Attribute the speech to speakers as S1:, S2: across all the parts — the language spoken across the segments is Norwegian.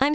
S1: I'm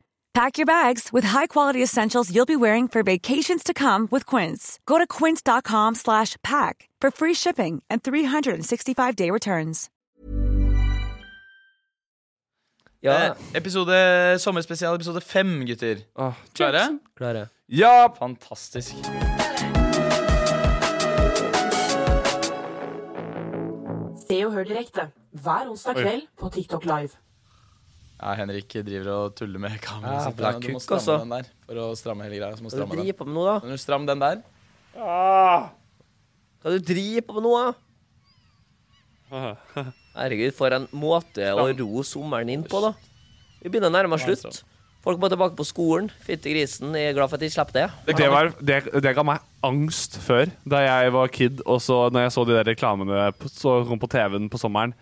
S2: Pack your bags with high-quality essentials you'll be wearing for vacations to come with Quince. Go to quince.com slash pack for free shipping and 365-day returns.
S3: Eh,
S4: Eh,
S5: Ja.
S3: episode, sommerspesial episode fem, gutter.
S5: Åh,
S3: Klare?
S5: klare.
S3: Ja! Fantastisk.
S6: Se og hør direkte hver onsdag
S3: Oi.
S6: kveld på TikTok Live.
S3: Ja, Henrik driver og tuller med kameraet
S5: Ja,
S3: sitt.
S5: bra
S3: Du må
S5: kukk,
S3: stramme
S5: altså.
S3: den der for å stramme hele greia. Så må
S5: Hva du
S3: du stramme den.
S5: driver på med nå, da?
S3: Kan du stramme den der?
S5: Hva du driver på med nå, da? Herregud, for en måte å ro sommeren inn på, da. Vi begynner å nærme oss slutt. Folk må tilbake på skolen. Fytti grisen, jeg er glad for at de slapp det.
S4: Det, var, det, det ga meg angst før, da jeg var kid, og så når jeg så de der reklamene på- som kom på TV-en på sommeren.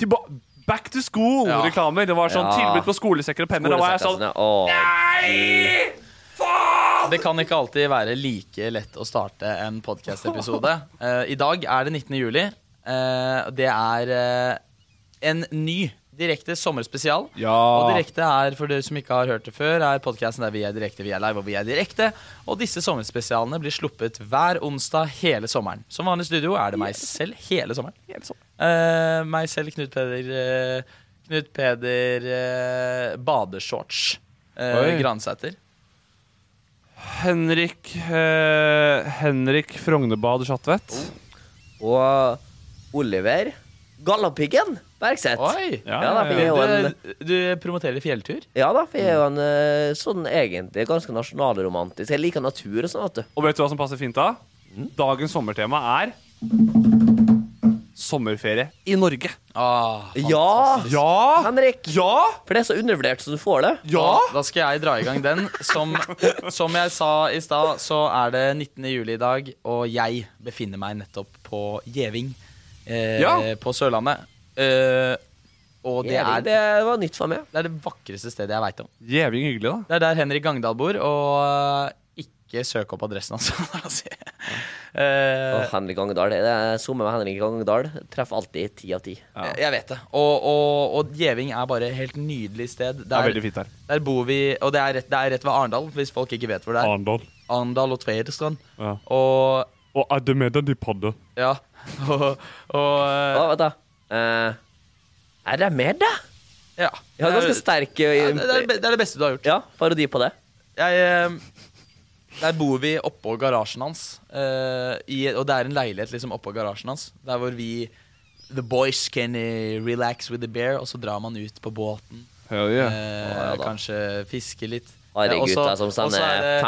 S4: Tilba back to school-reklamer! Det var sånn
S5: Ja.
S4: tilbud på skolesekker og penner. Da var jeg sånn
S5: Skolesekkene, åh.
S3: Det kan ikke alltid være like lett å starte en podcast-episode. Eh, I dag er det 19. juli. Eh, det er eh, en ny direkte sommerspesial. Og direkte er, for dere som ikke har hørt det før, er podcasten der vi er direkte, vi er live og vi er direkte. Og disse sommerspesialene blir sluppet hver onsdag hele sommeren. Som vanlig i studio er det meg selv hele sommeren.
S4: sånn-
S3: Eh, meg selv, Knut Peder eh, Knut Peder eh, Badeshorts eh,
S4: Oi.
S3: Gransæter.
S4: Henrik eh, Henrik Frognebad Schatvedt.
S5: Og Oliver Galdhøpiggen Bergseth.
S3: Oi!
S4: Ja,
S5: Ja, da, for
S4: ja, ja. Mm.
S5: jeg er jo en,
S3: Du, du promoterer fjelltur?
S5: ja da, for jeg er jo en eh, sånn egentlig ganske nasjonalromantisk. Jeg liker natur og sånn, vet du.
S4: Og vet du hva som passer fint da? Dagens sommertema er sommerferie i Norge.
S3: Ah,
S5: Ja!
S4: Ja!
S5: Henrik!
S4: Ja!
S5: For det er så undervurdert som du får det.
S4: Ja!
S3: Da skal jeg dra i gang den. Som, som jeg sa i stad, så er det 19. juli i dag, og jeg befinner meg nettopp på Gjeving eh,
S4: Ja.
S3: på Sørlandet. Eh, og det
S5: Jævlig,
S3: er,
S5: det
S3: det
S5: var nytt for meg.
S3: er det vakreste stedet jeg veit om.
S4: Jævlig hyggelig, da.
S3: Det er der Henrik Gangdal bor, og eh, ikke søk opp adressen hans. Altså.
S5: Å,
S3: Eh,
S5: Henrik Gangdal. Det er sommer med Henrik Gangdal. Treffer alltid ti av ti.
S4: Ja.
S3: Jeg vet det. Og, og, og Gjeving er bare et helt nydelig sted.
S4: Det er veldig fint der.
S3: Der bor vi, og det er rett, det er rett ved Arendal, hvis folk ikke vet hvor det er.
S4: Arendal.
S3: Arendal og Tvedestrand.
S4: Ja.
S3: Og
S4: Og er det med den de padder?
S3: ja. Og,
S5: Å,
S3: og
S5: vet du. Eh, er det mer, da?
S3: ja.
S5: Jeg har ganske sterk eh,
S3: Ja, det, er det be- det er det beste du har gjort.
S5: ja, parodi på det.
S3: Jeg, eh, der bor vi oppå garasjen hans. eh, i, og det er en leilighet liksom oppå garasjen hans. Der hvor vi The boys can eh, relax with the bear, og så drar man ut på båten.
S4: Hell
S3: eh,
S4: yeah.
S5: ja da.
S3: kanskje fiske litt. Eh, og så-
S5: Haregutta som
S3: og så er
S5: sender
S3: det-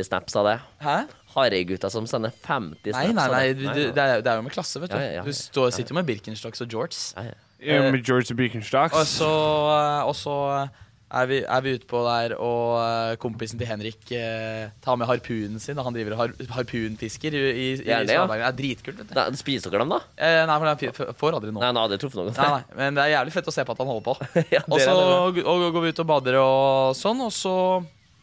S5: 50 snaps av det.
S3: Hæ?
S5: Haregutta som sender 50 snaps
S3: Nei, nei,
S5: av
S3: nei,
S5: det.
S3: du, du, det, er, det er jo med klasse, vet du.
S5: Ja, ja, ja.
S3: Du står, sitter jo med Birkenstocks og Jorts.
S5: nei.
S4: Ja, Med George Birkenstocks.
S3: Eh, Og så, eh, og så er, vi, er vi ute på der, og eh, kompisen til Henrik eh, tar med harpunen sin. Og han driver og har, harpunfisker i, i, i
S5: Gjerne, ja.
S3: Svalbard. Det er dritkult, vet du.
S5: Nei, spiser dere dem, da?
S3: Eh, nei, men han fi- f- får aldri noe.
S5: Nei, nå hadde jeg truffet noen.
S3: Nei, nei, men det er jævlig fett å se på at han holder på.
S5: Ja,
S3: Og
S5: det
S3: så
S5: er
S3: g- og går vi ut og bader og sånn, og så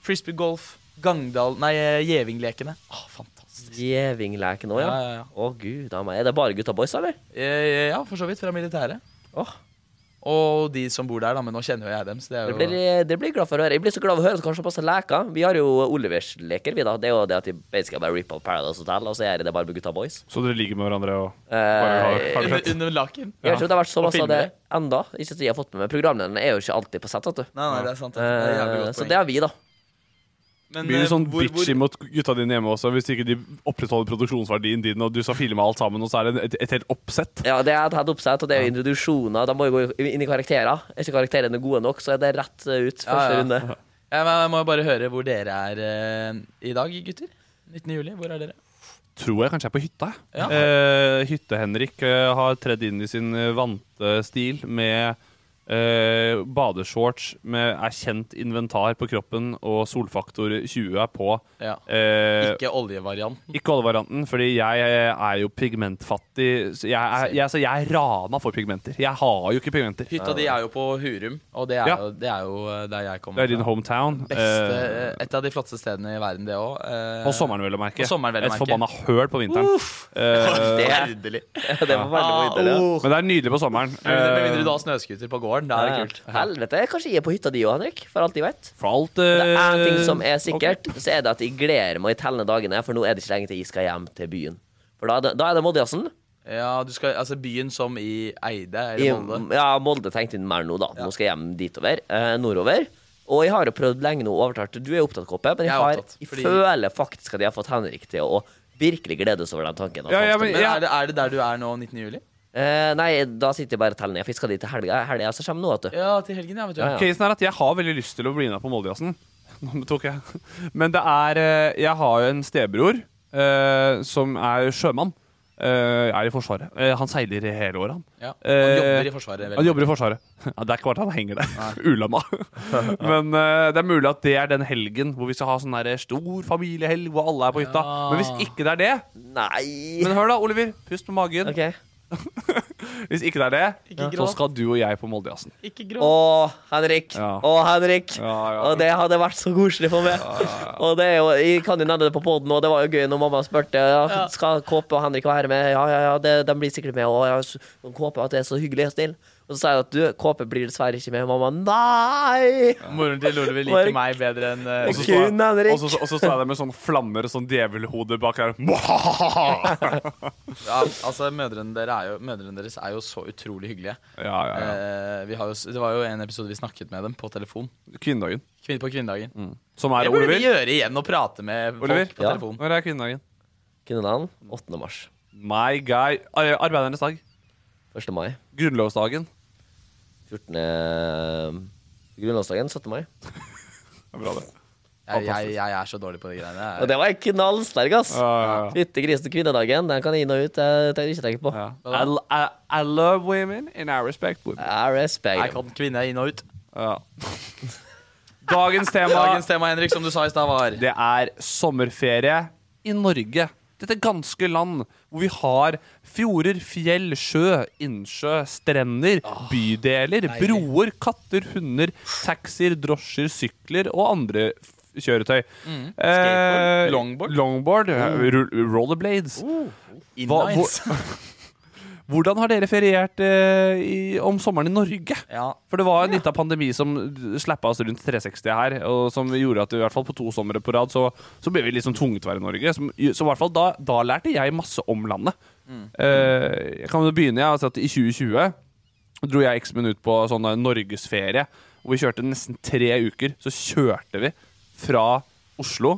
S3: frisbee golf, Gangdal Nei, eh, Gjevinglekene. Ah, fantastisk. fantastisk.
S5: Gjevingleken òg, ja.
S3: Ja, ja, ja.
S5: Å gud a meg. Er det bare gutta boys, eller?
S3: Eh, Ja, for så vidt. Fra militæret.
S5: Åh.
S3: Og de som bor der, da. Men nå kjenner jo jeg dem. Så det er
S5: Det
S3: jo
S5: blir, det blir jeg glad for å høre. Jeg blir så glad for å høre at kanskje passer leker. Vi har jo Olivers leker, vi, da. Det er jo det at de basically bare ripper opp Paradise Hotel, og så gjør de det bare med gutta boys.
S4: Så dere ligger med hverandre og bare har,
S5: Eh,
S4: har det
S3: under,
S4: fett?
S3: under laken.
S5: Jeg vet ikke om det har vært så
S4: Og
S5: masse av det
S4: filmer.
S5: enda. Ikke at jeg har fått med meg Programlederne er jo ikke alltid på sett, vet du.
S3: Nei, nei, det er sant. Det er et jævlig
S5: Eh,
S3: godt
S5: Så
S3: poeng.
S5: det har vi, da.
S3: Men,
S4: Blir
S3: eh,
S4: du sånn
S3: hvor- hvor-
S4: bitchy mot gutta dine hjemme også hvis ikke de opprettholder produksjonsverdien din, og du skal filme alt sammen, og så er det et, et helt oppsett?
S5: Ja, det er et helt oppsett, og det er jo introduksjoner. De må jo gå inn i karakterer. Er ikke karakterene gode nok, så er det rett eh, ut første
S3: Ja, ja.
S5: runde.
S3: Ja, men Jeg må bare høre hvor dere er eh, i dag, gutter. 19. juli, hvor er dere?
S4: Tror jeg kanskje er på hytta. jeg.
S3: Ja.
S4: Eh, Hytte-Henrik eh, har tredd inn i sin eh, vante stil med eh, badeshorts med erkjent inventar på kroppen og solfaktor 20 er på.
S3: Ja.
S4: Eh,
S3: Ikke oljevarianten.
S4: Ikke oljevarianten, fordi jeg eh, er jo pigmentfattig. Så jeg, er, jeg, så jeg er rana for pigmenter. Jeg har jo ikke pigmenter. Det
S3: Hytta di er jo på Hurum, og det er,
S4: Ja.
S3: jo, det er jo eh, der jeg kommer
S4: er din hometown.
S3: Beste,
S4: Eh,
S3: et av de flotteste stedene i verden, det eh. òg.
S4: på eh, sommeren, vel å merke.
S3: på sommeren, vel å
S4: Et
S3: merke.
S4: forbanna høl på vinteren. Eh,
S5: Det,
S3: Nydelig.
S5: det var veldig
S3: Ah,
S5: mye det.
S4: men det er nydelig på sommeren.
S3: Med
S4: Eh,
S3: mindre du har snøscooter på gården. Da er det kult.
S5: Helvete, kanskje jeg er på hytta di òg, Henrik. For alt jeg vet.
S4: for alt
S5: Det er en ting
S4: eh,
S5: som er
S4: ok.
S5: sikkert, så er det at jeg gleder meg i tellende dagene, for nå er det ikke lenge til jeg skal hjem til byen. For da er det, da er det Moldejazzen.
S3: Ja, du skal, altså Byen som i Eide
S5: I-
S3: eller Molde.
S5: Ja, Molde tenkte jeg mer nå, da. Nå skal jeg hjem ditover. Eh, nordover. Og jeg har jo prøvd lenge nå å overtale Du er opptatt, Kåpe, men jeg,
S3: Jeg er
S5: har,
S3: opptatt,
S5: jeg
S3: fordi-
S5: føler faktisk at jeg har fått Henrik til å virkelig glede oss over den tanken. at
S4: Ja,
S5: han
S4: ja,
S5: skal-
S4: men-
S3: Men er det, er det der du er nå 19. juli?
S5: eh, nei, da sitter jeg bare og teller ned. For jeg skal dit til helga. Helga så kommer nå, vet du.
S3: Ja, til helgen, ja. vet du
S5: Ja, ja.
S4: Casen er at jeg har veldig lyst til å bli med på Moldejazzen. Nå tok jeg. Men det er eh, Jeg har jo en stebror eh, som er sjømann. Eh, er i Forsvaret. Eh, han seiler i hele året, han.
S3: Ja, han
S4: Eh,
S3: jobber i Forsvaret veldig
S4: Han jobber i Forsvaret. Ja, det er ikke bare at han henger der. Ulamma. Men eh, det er mulig at det er den helgen hvor vi skal ha sånn der stor familiehelg hvor alle er på hytta. Men hvis ikke det er det
S5: Nei!
S4: Men hør, da, Oliver. Pust med magen.
S5: Ok.
S4: Hvis ikke det er det,
S3: Ikke
S4: så
S3: gråt.
S4: skal du og jeg på Moldejazzen.
S3: Ikke grå.
S5: Å, Henrik.
S4: Ja.
S5: Å, Henrik.
S4: Ja, ja.
S5: Og det hadde vært så koselig for meg. Og det er jo, Jeg kan jo nevne det på poden, og det var jo gøy når mamma spurte ja, Skal Kåpe og Henrik være med. Ja, ja, ja, det, de blir sikkert med. Og ja, så- og Kåpe at det er så hyggelig og snill. Og så sa jeg at du, Kåpe blir dessverre ikke med. Og mamma nei!
S3: Moren til
S5: Var-
S3: Oliver liker meg bedre enn eh,
S4: Og så
S5: Kun
S4: står jeg-
S5: Henrik.
S4: og så- og så står jeg der med sånne flammer og sånn djevelhode bak der. ja,
S3: Ja, altså mødrene, dere er jo, mødrene deres er jo så utrolig hyggelige.
S4: ja, ja.
S3: Eh, vi har jo, s- det var jo en episode vi snakket med dem på telefon.
S4: Kvinnedagen.
S3: Kvin- På kvinnedagen.
S4: Som er
S3: Eh. Det burde vi
S4: Oliver.
S3: gjøre igjen og prate med folk
S4: Oliver?
S3: på
S5: Ja.
S3: telefon.
S4: Når er kvinnedagen?
S5: Kvinnedagen 8. mars.
S4: My guy. Ar- Arbeidernes dag.
S5: 1. mai.
S4: Grunnlovsdagen.
S5: 14. eh, Grunnlovsdagen. 17. mai.
S4: Det er bra, det.
S3: Jeg, jeg, jeg er så dårlig på de greiene.
S5: Og
S3: Jeg,
S5: det var en knallsterk, ass!
S4: Ja, ja, ja.
S5: Fytte grisen kvinnedagen. Den kan jeg inn og ut. Jeg trenger ikke tenke på.
S4: Ja. I, I, I love women and I respect women.
S5: I respect.
S3: jeg kan kvinne inn og ut.
S4: Ja. Dagens tema
S3: Dagens tema, Henrik, som du sa i stad, var
S4: det er sommerferie i Norge. Dette ganske land hvor vi har fjorder, fjell, sjø, innsjø, strender, bydeler, broer, katter, hunder, taxier, drosjer, sykler og andre f- kjøretøy.
S3: Mm.
S4: Eh,
S3: Skateboard, longboard.
S4: longboard ru- rollerblades. Hva-
S3: inlines.
S4: Hvordan har dere feriert eh, i, om sommeren i Norge?
S3: Ja.
S4: For det var en liten pandemi som slappa oss rundt 360 her, og som gjorde at i hvert fall på to somre på rad så, så ble vi liksom tvunget til å være i Norge. Som, så i hvert fall da, da lærte jeg masse om landet. Eh, jeg kan jo begynne, jeg har sett i 2020 dro jeg X minutt på sånn der norgesferie. Hvor vi kjørte nesten tre uker. Så kjørte vi fra Oslo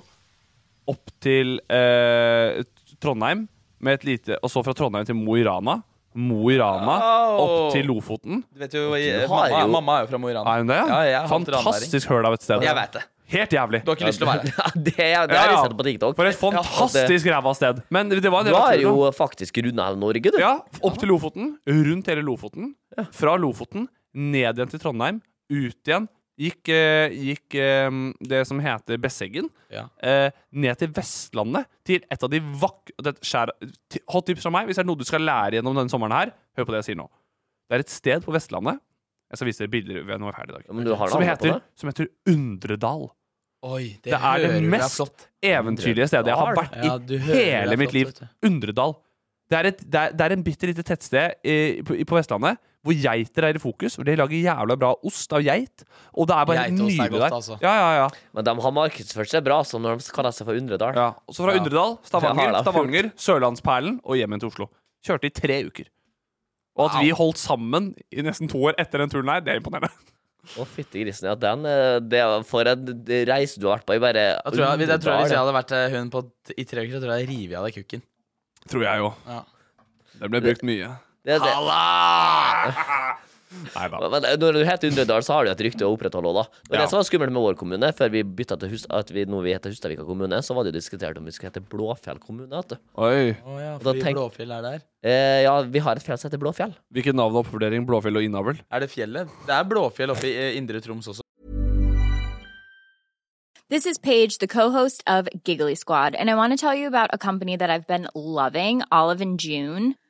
S4: opp til eh, Trondheim med et lite Og så fra Trondheim til Mo i Rana. Mo i Rana opp til Lofoten.
S3: Du vet jo, jeg,
S5: har
S3: mamma,
S5: jo-
S3: mamma er jo fra Mo i Rana.
S4: Er hun det?
S3: Ja, jeg er halvt
S4: Fantastisk høl av et sted.
S3: ranæring. Jeg vet det.
S4: Helt jævlig.
S3: Du har ikke lyst til å være der.
S5: Ja, det, er- det har jeg sett på TikTok. altså,
S4: For et fantastisk ræva sted. Men det var en
S5: Du
S4: del av
S5: har
S4: turen, da.
S5: jo faktisk runda hele Norge, du.
S4: Ja, opp til Lofoten, rundt hele Lofoten. Fra Lofoten, ned igjen til Trondheim, ut igjen. Gikk, eh, gikk eh, det som heter Besseggen,
S3: Ja.
S4: eh, ned til Vestlandet. Til et av de vakre Hot tips fra meg, hvis det er noe du skal lære gjennom denne sommeren her, hør på det jeg sier nå. Det er et sted på Vestlandet Jeg skal vise dere bilder ved når vi er ferdig i dag.
S5: Men du har navnet
S4: Som
S5: på
S4: heter,
S5: det?
S4: som heter Undredal.
S3: Oi, det,
S4: Det er det
S3: hører du
S4: mest
S3: flott.
S4: eventyrlige stedet jeg har vært i
S3: Ja, du hører det
S4: hele
S3: er
S4: mitt liv.
S3: flott, vet
S4: Undredal. Det er, et, det, er, det er en bitte lite tettsted i, på, i- på Vestlandet hvor geiter er i fokus. Hvor de lager jævla bra ost av geit. Og det er bare helt
S3: Geitost er
S4: nydelig
S3: godt,
S4: der.
S3: altså.
S4: Ja, ja, ja.
S5: Men de har markedsført seg bra, så når de kaller seg for Undredal
S4: ja. Og så fra
S3: Ja.
S4: Undredal,
S5: Det
S4: Stavanger,
S5: har de.
S4: Stavanger, Sørlandsperlen og hjem igjen til Oslo. Kjørte i tre uker. Og at vi holdt sammen i nesten to år etter den turen her, det er imponerende.
S5: Å, fytti grisen. Ja, den eh, det er For en reise du har vært på i bare
S3: Da tror jeg, jeg tror jeg, Hvis jeg
S5: Undredal.
S3: hadde vært eh, hun på, t- i tre uker, så tror jeg jeg rev av deg kukken.
S4: Tror jeg jo.
S3: Ja.
S4: Det ble brukt mye.
S5: Det er det.
S4: Halla! Nei da.
S5: Men men når du heter Undredal, så har du et rykte å opprettholde òg, da. Det var
S4: Ja.
S5: det som var skummelt med vår kommune, før vi bytta til Hus at vi, nå vi heter Hustadvika kommune, så var det jo diskutert om vi skulle hete Blåfjell kommune. Vet du.
S4: Oi.
S3: Oh, ja,
S5: fordi tenk-
S3: Blåfjell er der.
S5: Eh, ja, vi har et fjell som heter Blåfjell.
S4: Hvilket navn og oppvurdering? Blåfjell og innavl?
S3: Er det fjellet? Det er Blåfjell oppe i eh, Indre Troms også.
S7: This is Paige, the co-host of Giggly Squad, and I want to tell you about a company that I've been loving, Olive and June.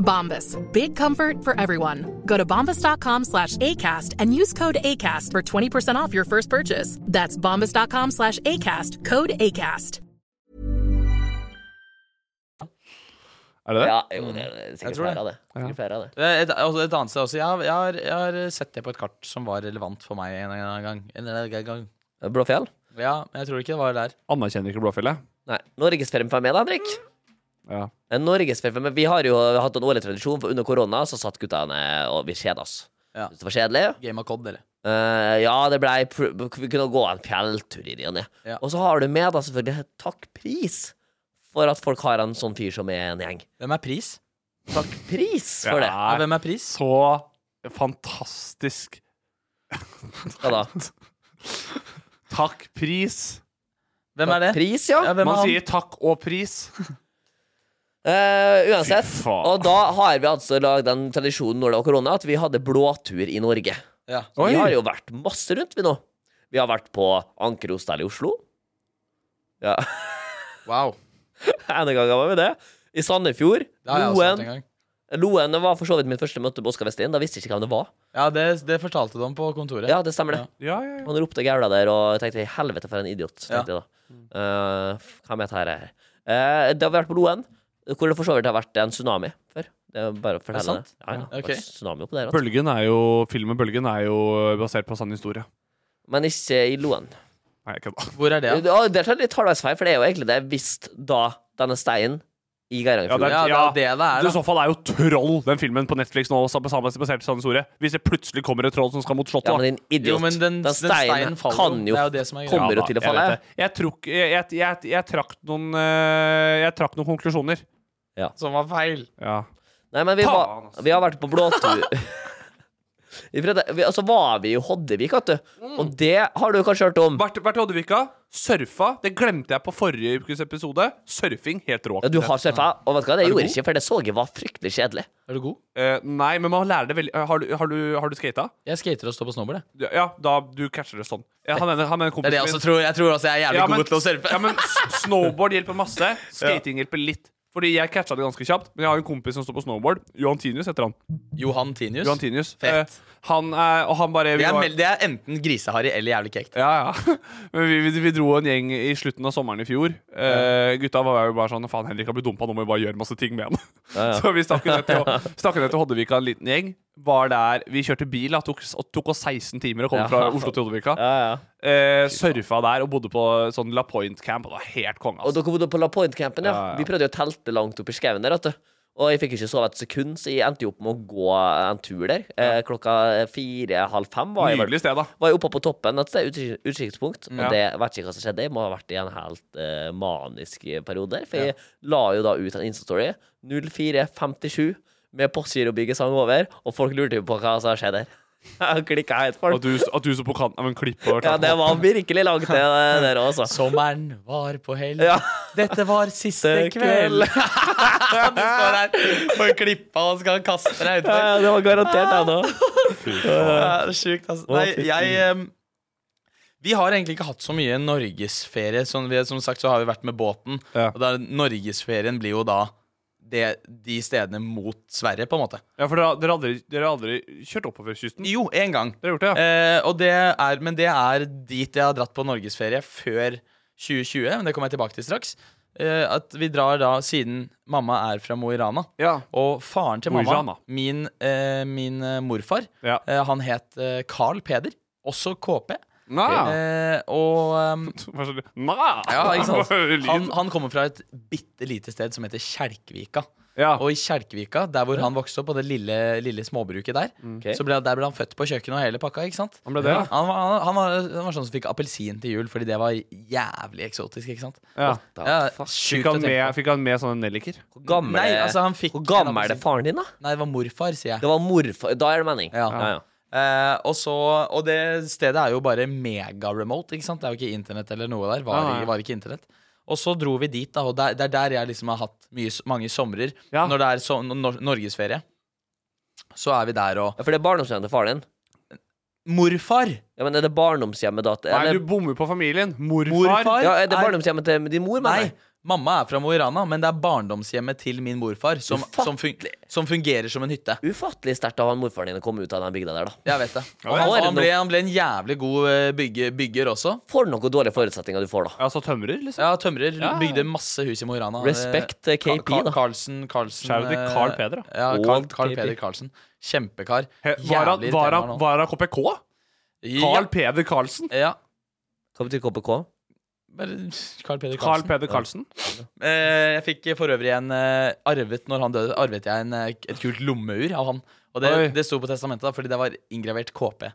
S8: Bombas. Big comfort for everyone. Go to bombas.com slash ACAST and use code ACAST for 20% off your first purchase. That's bombas.com slash ACAST. Code ACAST.
S4: Er det det?
S5: Ja, jo, det er
S3: Jeg
S5: sikkert
S3: tror det.
S5: flere av det. Sikkert flere av det.
S3: Det er Et, altså et annet sted også. Jeg har, jeg, har, jeg har eh, sett det på et kart som var relevant for meg en eller annen gang. En eller annen gang.
S5: Blåfjell?
S3: Ja, men jeg tror ikke det var der.
S4: Anerkjenner ikke Blåfjellet?
S5: Nei. Norgesferien for meg, da, Henrik.
S4: Ja.
S5: En Norgesferie, men vi har jo hatt en årlig tradisjon, for under korona så satt guttene og vi kjeda oss.
S3: Ja.
S5: Synes Det var kjedelig.
S3: Game of Cod, dere.
S5: Eh, ja, det blei pr- Vi kunne gå en fjelltur i ny og ne.
S3: Ja.
S5: Og så har du med, da, selvfølgelig, takk pris for at folk har en sånn fyr som er en gjeng.
S3: Hvem er pris?
S5: Takk pris for det.
S3: Ja, hvem er pris?
S4: Så fantastisk.
S5: Hva da?
S4: Takk, pris.
S3: Hvem er det?
S5: Pris, ja.
S3: Ja, hvem er
S4: Man
S3: han?
S4: sier takk og pris.
S5: Eh, uansett.
S4: Fy faen.
S5: Og da har vi altså lagd den tradisjonen når det var korona, at vi hadde blåtur i Norge.
S3: Ja.
S5: Så
S4: Oi.
S5: vi har jo vært masse rundt, vi nå. Vi har vært på Anker Hostel i Oslo. Ja,
S3: Wow.
S5: en gang var vi det. I Sandefjord.
S3: Det har jeg også hørt en
S5: Loen.
S3: gang.
S5: Loen det var for så vidt mitt første møte med Oskar Westin. Da visste jeg ikke hvem det var.
S3: Ja, det, det fortalte du om på kontoret.
S5: Ja, det stemmer det.
S4: Ja, ja, ja.
S5: Han ropte og gaula der, og jeg tenkte helvete for en idiot. tenkte jeg da. Eh, hvem er dette her? Eh, det har vært på Loen, hvor det for så vidt har vært en tsunami før. Det er bare å fortelle det.
S3: sant?
S5: Ja, ja. Det
S3: Ok.
S5: var Tsunami oppe der. altså.
S4: Bølgen er jo, filmen Bølgen er jo basert på sann historie.
S5: Men ikke i Loen.
S4: Nei, jeg kødda.
S3: Hvor er det?
S5: Ja.
S3: da?
S5: Det er sånn litt halvveisfeil, for det er jo egentlig det hvis da denne steinen i
S4: Ja, det
S5: Geirangerfjorden
S3: Ja,
S4: er,
S3: det er det det er, da.
S4: I så fall er jo Troll, den filmen på Netflix nå, som er sammen- basert på sann historie. Hvis det plutselig kommer et troll som skal mot Slottet.
S5: Ja,
S4: da.
S5: men din idiot.
S3: Jo, men den, den steinen faller
S5: kan jo
S3: Det er jo det som er greia.
S5: kommer
S4: Ja,
S5: jo til å
S4: da,
S5: falle.
S4: Jeg, vet det. jeg, tror ikke- jeg, jeg, jeg, jeg trakk noen eh, Jeg trakk noen konklusjoner.
S3: Som var feil.
S4: Ja.
S5: Nei, men vi,
S4: Faen,
S5: var,
S4: altså.
S5: vi har vært på blåtur I fredag, vi, altså var vi i Hoddevik, vet du. Og det har du kanskje hørt om.
S4: Vært vært i Oddevika, surfa. Det glemte jeg på forrige ukes episode. Surfing, helt rå.
S5: Ja, du
S4: aktivitet.
S5: har surfa, og vet du hva, det
S4: Er du
S5: gjorde
S4: god?
S5: jeg ikke, for det så jeg var fryktelig kjedelig.
S3: Er du god?
S4: Eh, nei, men man lærer det veldig eh, Har du, har du, har du skata?
S3: Jeg skater og står på snowboard. jeg.
S4: Ja, Ja, da du catcher det sånn. Ja, han ene han
S3: Det
S4: ene
S3: er
S4: kompisen
S3: det jeg også tror. Jeg tror også jeg er jævlig
S4: Ja, men-
S3: god til å surfe.
S4: Ja, men s- snowboard hjelper masse. Skating hjelper litt. Fordi jeg catcha det ganske kjapt, men jeg har en kompis som står på snowboard. Johan Tinius heter han.
S3: Johan Tinius.
S4: Johan Tinius.
S3: Fett.
S4: Eh, han er, og han bare vi
S3: Det er,
S4: var-
S3: mel- det er enten griseharry eller jævlig kekt.
S4: Ja, ja. Men vi, vi, vi dro en gjeng i slutten av sommeren i fjor. Eh, gutta var jo bare sånn Faen, Henrik har blitt dumpa, nå må vi bare gjøre masse ting med han. Så vi stakk ned til, stakk ned til Hoddevika, en liten gjeng. Var der, Vi kjørte bil, da, tok, tok oss 16 timer å komme fra Oslo til Hoddevika. Eh, surfa der og bodde på sånn La Point Camp. og Det var helt konge.
S5: Og
S4: Altså.
S5: dere bodde på La Point-campen, ja.
S4: Ja, ja.
S5: Vi prøvde jo å telte langt opp i skauen der, vet du. Og jeg fikk jo ikke sove et sekund, så jeg endte jo opp med å gå en tur der. Eh, klokka fire-halv fem var jeg vel.
S4: Nydelig sted, da.
S5: Var jeg oppe på toppen et sted, utkik- utkikkspunkt,
S4: Ja.
S5: og det vet ikke hva som skjedde. Jeg må ha vært i en helt eh, manisk periode der, for jeg la jo da ut en Insta-story 0457 med Postgirobygget sang over, og folk lurte jo på hva som skjedde der. Klikka helt
S4: At
S5: folk.
S4: du, at du så på kanten av en klippe. og
S5: Ja,
S4: klarte
S5: det
S4: å-
S5: var virkelig langt ned eh, der også.
S3: Sommeren var på hell.
S5: Ja.
S3: Dette var siste
S5: Siste
S3: kveld.
S5: kveld.
S3: du står der på klippa og skal kaste deg utfor.
S5: Ja, det var garantert det nå.
S3: Ja, det er sjukt, altså.
S5: Å,
S3: Nei,
S5: fy
S3: jeg ehm, Vi har egentlig ikke hatt så mye norgesferie. Som, vi, som sagt så har vi vært med båten.
S4: Ja.
S3: Og da, norgesferien blir jo da det, de stedene mot Sverige, på en måte.
S4: Ja, for dere, dere, har aldri, dere har aldri kjørt oppover kysten?
S3: Jo, én gang.
S4: Dere har gjort det, ja?
S3: Eh, og det er, men det er dit jeg har dratt på norgesferie før 2020. Men det kommer jeg tilbake til straks. Eh, at vi drar da siden mamma er fra Mo i Rana.
S4: Ja.
S3: Og faren til
S4: Mo i
S3: mamma,
S4: Rana.
S3: min, eh, min eh, morfar,
S4: Ja.
S3: eh, han het eh, Carl Peder. Også KP.
S4: Nå, ja.
S3: Eh, og ehm,
S4: Hva sa du? Nå,
S3: ja, ikke sant?
S4: Lyd.
S3: Han, han kommer fra et bitte lite sted som heter Kjelkvika.
S4: ja.
S3: Og i Kjelkvika, der hvor han vokste opp, på det lille, lille småbruket der,
S5: Mm. Ok.
S3: så ble, der ble han født på kjøkkenet og hele pakka. ikke sant?
S4: Han ble det, ja.
S3: han, var, han, var, han var sånn som fikk appelsin til jul, fordi det var jævlig eksotisk. ikke sant?
S4: ja.
S3: Ja,
S4: Fikk,
S3: sjukt å
S4: han
S3: tenke
S4: med,
S3: på.
S4: fikk han med sånne nelliker?
S5: Hvor gammel,
S3: Nei,
S5: er-
S3: altså, han fikk
S5: hvor gammel er det faren din, da?
S3: Nei, det var morfar, sier jeg.
S5: Det var morfar Da er det mening.
S3: Ja.
S5: Ja, ja.
S3: Eh, og, så, og det stedet er jo bare mega-remote. ikke sant? Det er jo ikke internett eller noe der. Var,
S4: Nei, nei.
S3: var ikke internett. Og så dro vi dit, da, og der- det er der jeg liksom har hatt mye, mange somrer.
S4: Ja.
S3: Når det er so nor norgesferie, så er vi der og
S5: Ja, For det er barndomshjemmet til faren din?
S3: Morfar!
S5: Ja, men Er det barndomshjemmet da til-
S4: Nei,
S5: eller-
S4: du bommer på familien. Morfar.
S3: Morfar?
S5: Ja, er det
S3: er-
S5: barndomshjemmet til din mor, mener
S3: Nei,
S5: jeg?
S3: mamma er fra Mo i Rana, men det er barndomshjemmet til min morfar som, som, fun
S5: Ufattelig.
S3: som fungerer som en hytte.
S5: Ufattelig sterkt av han morfaren din å komme ut av den bygda der, da.
S3: Jeg vet det.
S5: Ja,
S3: Og
S5: ja.
S3: han,
S5: Var det
S3: han, ble, han ble en jævlig god eh, bygge, bygger også.
S5: For noen dårlige forutsetninger du får, da.
S4: Altså tømrer, liksom?
S3: Ja, tømrer. Bygde masse hus i Mo i Rana. Eh,
S5: Respekt eh, til
S3: Ka-
S5: KP,
S3: Ka-
S5: da.
S3: Carlsen, Carlsen
S4: Shout out til
S3: eh,
S4: Carl Peder, da.
S3: Ja,
S5: Og
S3: Carl, Carl
S5: KP.
S3: Peder Carlsen. Kjempekar.
S4: He, var, han,
S3: Jævlig irriterende
S4: var,
S3: nå.
S4: han, var han KPK? Carl Peder Karlsen?
S3: Ja. ja.
S5: Hva betyr KPK?
S3: Bare Carl Peder
S4: Carl
S3: Carlsen.
S4: Peder Karlsen?
S3: Eh, jeg fikk for øvrig en eh, arvet når han døde, arvet jeg en, eh, et kult lommeur av han. Og det,
S4: Oi.
S3: det sto på testamentet, da, fordi det var inngravert KP.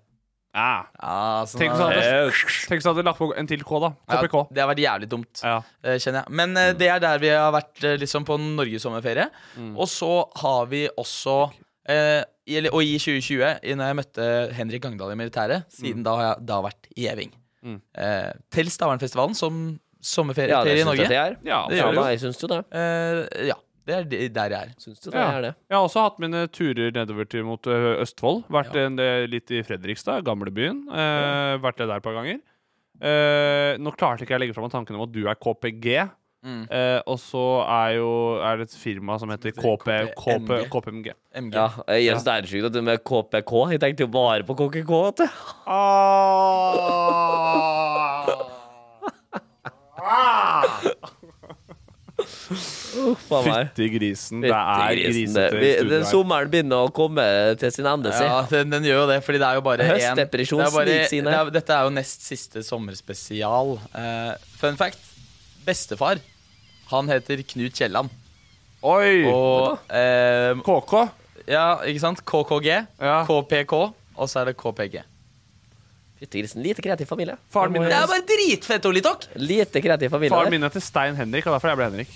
S4: Ja.
S3: Ja, sånn,
S4: Tenk hvis han
S5: Eh,
S4: hadde- tenk hvis han hadde lagt på en til K, da. KPK.
S3: Ja, det har vært jævlig dumt,
S4: Ja.
S3: eh, kjenner jeg. Men eh, det er der vi har vært eh, liksom på norgessommerferie.
S5: Mm.
S3: Og så har vi også eh, i- eller- Og i 2020, i- når jeg møtte Henrik Gangdal i
S5: Mm.
S3: militæret, siden da har jeg da vært i Gjeving. Eh, til Stavernfestivalen som sommerferie
S5: Ja,
S3: ferie
S5: det
S3: i
S5: syns jeg
S3: Norge.
S5: det er.
S4: Ja,
S3: det
S5: Ja,
S3: gjør du.
S5: da, jeg syns jo det.
S3: Eh, ja, det er de- der jeg er.
S5: Syns jo det
S4: Ja.
S5: er det.
S4: Jeg har også hatt mine turer nedover til mot ø, Østfold. Vært en del, litt i Fredrikstad, gamlebyen. Uh, vært der et par ganger. Eh, nå klarte ikke jeg å legge fram tanken om at du er KPG. Eh, og så er jo er det et firma som heter KP, KP,
S3: KPMG.
S4: KPMG.
S3: MG.
S5: Ja, jeg synes det er sjukt at du med KPK Jeg tenkte jo bare på KKK, vet du. Ah! Ah! Faen meg.
S4: Fytti grisen, det er
S5: Fytti grisen, det.
S4: grisete
S5: Vi-
S4: studio
S5: den
S4: her.
S5: Sommeren begynner å komme til sin ende, si.
S3: Ja, den, den gjør jo det, fordi det er jo bare én
S5: Høstdepresjon
S3: det er bare-
S5: sniker seg inn
S3: det
S5: her.
S3: er- Dette er jo nest siste sommerspesial. Eh, fun fact. Bestefar, han heter Knut Kielland.
S4: Oi!
S3: Og eh,
S4: KK.
S3: Ja, ikke sant? KKG,
S4: Ja.
S3: KPK, og så er det KPG.
S5: Fytti grisen. Lite kreativ familie.
S4: Faren min,
S3: Det er bare dritfett, Olitok!
S5: Lite kreativ familie.
S4: faren
S5: der.
S4: min heter Stein Henrik, og derfor jeg ble Henrik.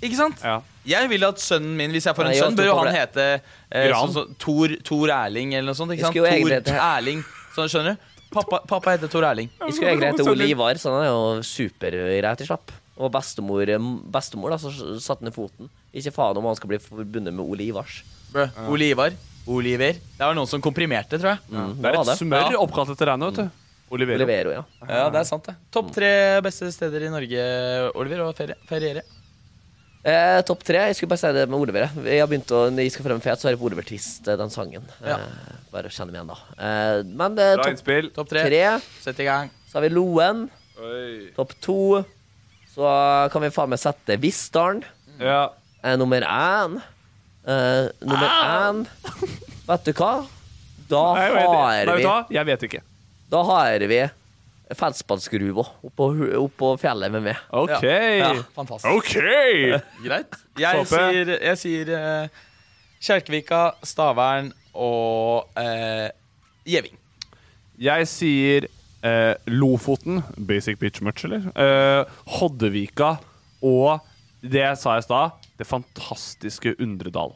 S3: Ikke sant?
S4: Ja.
S3: Jeg vil at sønnen min, hvis jeg får en
S5: Nei, jeg
S3: sønn, bør
S5: tror
S3: jo
S5: på
S3: han
S5: det.
S3: hete eh,
S4: Gran.
S3: sånn, som Tor, Tor Erling eller noe sånt.
S5: Jeg
S3: Ikke sant?
S5: skulle jo egentlig hete-
S3: Tor Erling. Sånn, skjønner du? Pappa, pappa heter Tor Erling.
S5: Jeg skulle egentlig hete Olivar, så sånn, han er jo supergreit i slapp. Og bestemor, eh, bestemor da, så satte ned foten. Ikke faen om han skal bli forbundet med Olivars.
S3: Brø. Olivar. Oliver. Det var noen som komprimerte, tror jeg.
S5: Mm,
S4: Det er et
S5: var
S4: smør
S3: Ja.
S4: oppkalt etter deg nå, vet du. Olivero.
S5: Olivero, ja.
S3: Ja, det er sant, det. Topp tre beste steder i Norge, Oliver, å ferie- feriere.
S5: Eh, Topp tre. Jeg skulle bare si det med Oliver. jeg. Jeg har begynt å, Når jeg skal frem en fet, så er det på Oliver Twist, eh, den sangen.
S3: Ja.
S5: Eh, bare kjenn dem igjen, da. Eh, men eh,
S4: Bra
S5: topp
S4: innspill.
S3: Topp tre.
S5: tre,
S3: Sett i gang.
S5: så har vi Loen.
S4: Oi.
S5: Topp to, så kan vi faen meg sette Vissdalen.
S4: Ja.
S5: Eh, nummer én. Eh, nummer én. Vet du hva? Da
S4: Nei, jeg vet,
S5: har
S4: nei, vet du
S5: vi
S4: hva? Jeg vet ikke.
S5: Da har vi Felsbadsgruva oppå, hu- oppå fjellet med meg.
S4: OK.
S3: Ja, fantastisk.
S4: OK!
S3: Greit. Jeg
S4: Håper.
S3: sier, jeg sier eh, Kjerkvika, Stavern og eh, Gjeving.
S4: Jeg sier eh, Lofoten, basic bitch much, eller? Eh, Hoddevika og det jeg sa i stad, det fantastiske Undredal.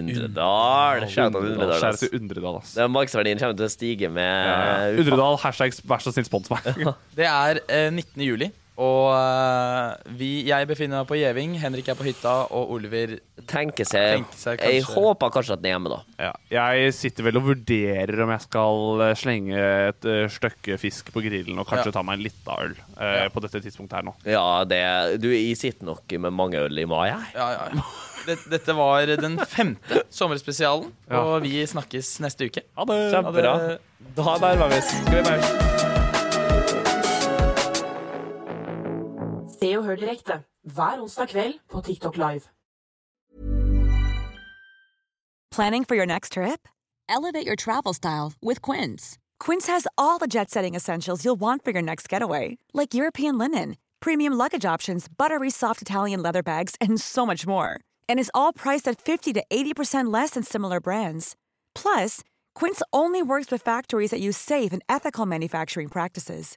S5: Undredal. Shout out Undredal,
S4: Skjær
S5: ass.
S4: til Undredal, ass.
S5: Det er Markedsverdien kommer til å stige med
S4: Ja, ja.
S5: ufatt-
S4: Undredal, hashtag vær så snill, spons meg.
S3: Det er eh, 19. juli, og eh, vi, jeg befinner meg på Gjeving, Henrik er på hytta, og Oliver
S5: Tenke seg,
S3: Tenke seg
S5: Jeg
S3: kanskje-
S5: håper kanskje at den er hjemme, da.
S4: Ja. Jeg sitter vel og vurderer om jeg skal eh, slenge et eh, stykke fisk på grillen og kanskje
S3: Ja.
S4: ta meg en lita øl eh, på dette tidspunktet her nå.
S5: Ja, det Du, jeg sitter nok med mange øl i mai, jeg.
S3: Ja, ja, ja. Det- Dette var den femte sommerspesialen,
S4: Ja.
S3: og vi snakkes neste uke.
S4: Ha det!
S5: Kjempebra.
S3: Da der var vi. Skal vi bare
S6: Se og hør direkte hver onsdag kveld på TikTok Live.
S2: Planning for your next trip?
S9: Elevate your travel style with Quince.
S2: Quince has all the jet setting essentials you'll want for your next getaway, like European linen, premium luggage options, buttery soft Italian leather bags, and so much more. And is all priced at 50 to 80% less than similar brands. Plus, Quince only works with factories that use safe and ethical manufacturing practices.